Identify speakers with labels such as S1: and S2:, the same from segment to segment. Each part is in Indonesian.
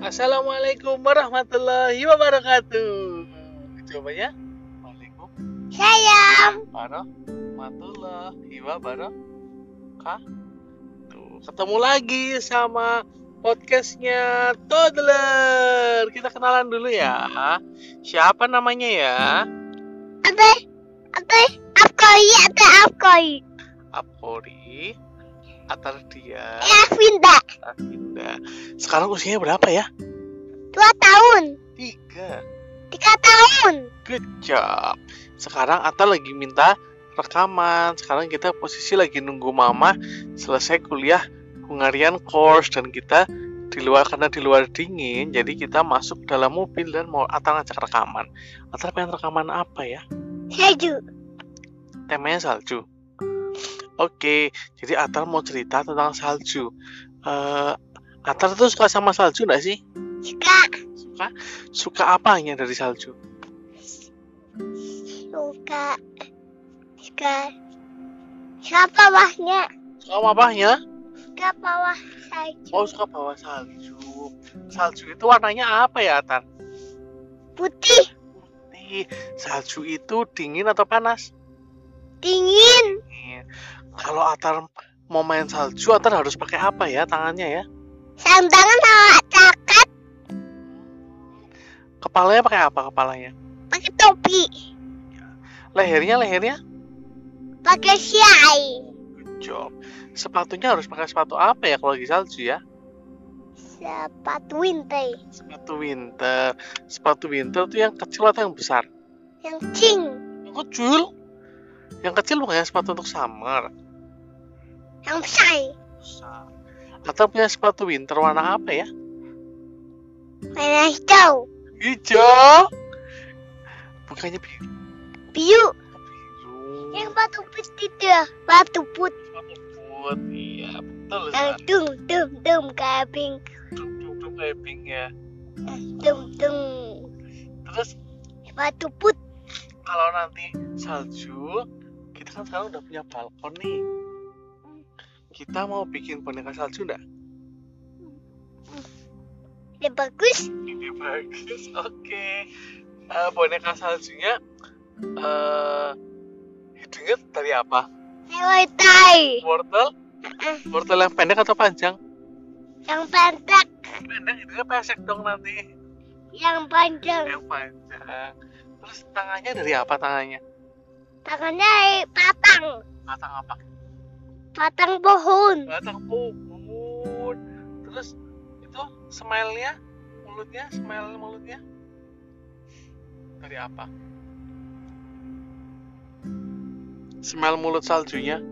S1: Assalamualaikum warahmatullahi wabarakatuh. Coba ya. Waalaikumsalam
S2: Sayang.
S1: warahmatullahi wabarakatuh. Ketemu lagi sama podcastnya Toddler. Kita kenalan dulu ya. Siapa namanya ya?
S2: Ate, ate, apkoi, ate apkoi.
S1: Apori Atardia
S2: Eh, Vinda,
S1: Atinda. Sekarang usianya berapa ya?
S2: dua tahun,
S1: Tiga.
S2: tiga tahun.
S1: Good job. Sekarang Atta lagi minta rekaman. Sekarang kita posisi lagi nunggu Mama selesai kuliah Hungarian course dan kita di luar karena di luar dingin, jadi kita masuk dalam mobil dan mau Atta ngajak rekaman. Atta pengen rekaman apa ya?
S2: Seju.
S1: Temanya salju. Oke, jadi Atta mau cerita tentang salju. Eh, Atta tuh suka sama salju nggak sih?
S2: Suka,
S1: Suka? Suka apanya dari salju?
S2: suka, suka. Suka bawahnya,
S1: Suka apanya?
S2: suka bawah salju.
S1: Oh suka bawa salju. Salju itu warnanya apa ya Tan?
S2: Putih,
S1: Ih, Salju itu dingin atau panas?
S2: dingin.
S1: Dingin. Kalau Atar mau main salju, Atar harus pakai apa ya tangannya ya?
S2: Sandangan sama cakat,
S1: Kepalanya pakai apa kepalanya?
S2: pakai topi,
S1: Lehernya lehernya?
S2: pakai siai.
S1: Good job. Sepatunya harus pakai sepatu apa ya kalau lagi salju ya?
S2: Sepatu winter,
S1: Sepatu winter. Sepatu winter tuh yang kecil atau yang besar?
S2: yang cing,
S1: Yang kecil. Yang kecil bukannya sepatu untuk summer.
S2: yang besar.
S1: Besar. Atar punya sepatu winter warna apa ya?
S2: Warna hijau,
S1: hijau Iya. bukannya biru
S2: biru.
S1: biru
S2: Yang batu putih itu ya, batu putih
S1: Sepatu boot, iya betul
S2: yang
S1: San.
S2: Eh, dum dum dum kayak pink,
S1: Duk, duk, duk, kayak pink ya
S2: Eh, dum dum.
S1: terus
S2: Batu put
S1: kalau nanti salju kita kan sekarang udah punya balkon nih kita mau bikin boneka salju enggak?
S2: ya bagus.
S1: Ini bagus, oke. Eh, boneka saljunya eh hidungnya dari apa?
S2: Hello tai,
S1: Wortel? Wortel yang pendek atau panjang?
S2: yang pendek,
S1: Pendek hidungnya pesek dong nanti.
S2: yang panjang.
S1: yang panjang terus tangannya dari apa tangannya
S2: Tangannya dari patang,
S1: batang apa
S2: patang pohon.
S1: batang pohon terus itu smile-nya mulutnya smile mulutnya dari apa smile mulut saljunya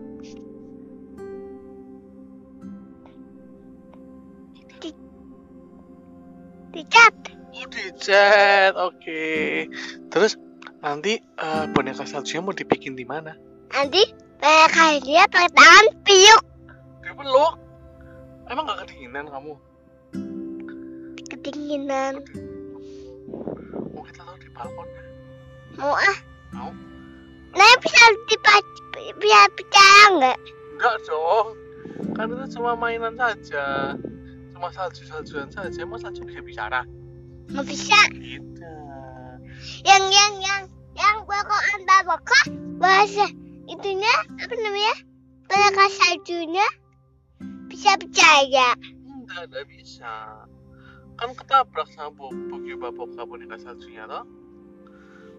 S2: Dicat,
S1: oh dicat oke terus nanti eh, boneka saljunya mau dibikin di mana
S2: nanti mereka dia pakai tangan piuk.
S1: dipeluk emang gak kedinginan kamu
S2: Kedinginan,
S1: mau kita taruh di balkon
S2: mau ah?
S1: Mau.
S2: Nah bisa dipac, bisa bicara nggak?
S1: Enggak dong, kan itu cuma mainan saja Cuma salju-saljuan saja, emang salju bisa bicara? Gitu.
S2: Nggak bisa.
S1: Tidak
S2: yang yang yang yang gua kok anda bakar bahasa itunya apa namanya mereka saljunya bisa percaya
S1: Enggak, enggak bisa Kan ketabrak sama ya, bu bugi baboka boneka saljunya toh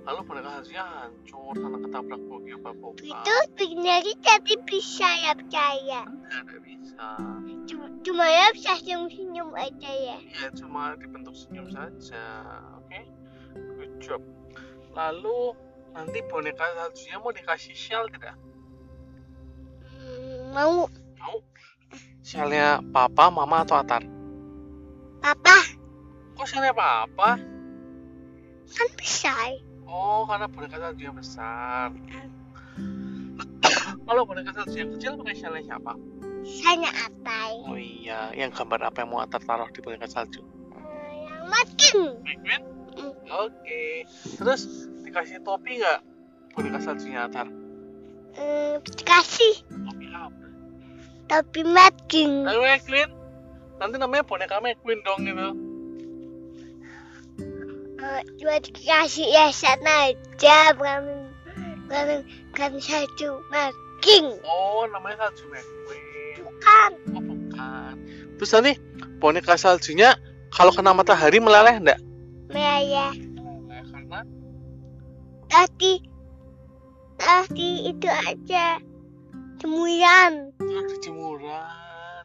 S1: Lalu boneka saljunya hancur karena ketabrak ya, bugi baboka
S2: itu bikinnya jadi bisa ya percaya
S1: Enggak, enggak bisa
S2: cuma, cuma ya bisa senyum senyum aja ya
S1: Iya, cuma dibentuk senyum saja Oke, good job Lalu nanti boneka saljunya mau dikasih shell tidak?
S2: Hmm, mau
S1: Mau? Selnya papa, mama, atau Atar?
S2: papa
S1: Kok selnya papa?
S2: kan bisa
S1: Oh, karena boneka salju yang besar. Kalau boneka salju yang kecil, pakai selnya siapa?
S2: saya atai
S1: Oh iya, yang gambar apa yang mau Atar taruh di boneka salju?
S2: Eh, yang makin
S1: Penguin?
S2: Mm.
S1: Oke. Terus, dikasih topi nggak boneka saljunya Atar?
S2: eh, dikasih
S1: Topi apa? eh,
S2: tapi makin
S1: Tapi McQueen? Nanti namanya boneka McQueen dong gitu.
S2: eh, buat kasih yayasan aja bukan bukan bukan salju marking
S1: Oh, namanya salju merah.
S2: bukan
S1: Oh, bukan. Terus nanti boneka saljunya kalau kena matahari meleleh enggak?
S2: Maya ya.
S1: Meleleh karena
S2: tadi tadi itu aja temuyan
S1: ada jemuran.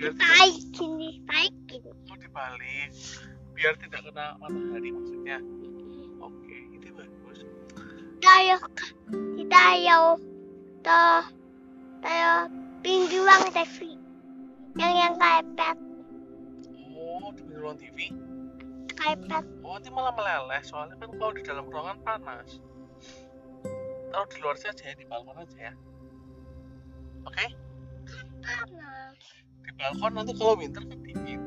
S1: Biar tidak
S2: baik ini baik ini
S1: mau dibalik. Biar tidak kena matahari maksudnya. Oke, itu bagus.
S2: tayo tayo to tayo pinggir ruang TV yang yang karpet
S1: Oh, di pinggir ruang TV.
S2: karpet
S1: Oh, nanti malah meleleh soalnya kan kalau di dalam ruangan panas. Taruh di luar saja ya, di balkon aja ya. Oke,
S2: panas
S1: di balkon nanti kalau winter kan dingin.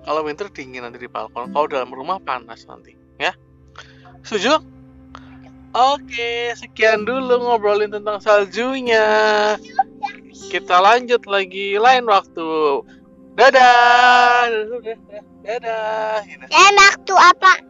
S1: Kalau winter dingin nanti di balkon. Kalau dalam rumah panas nanti, ya. Setuju? Oke, sekian dulu ngobrolin tentang saljunya. Kita lanjut lagi lain waktu. Dadah. Gitu. Dadah. Dadah.
S2: dan waktu apa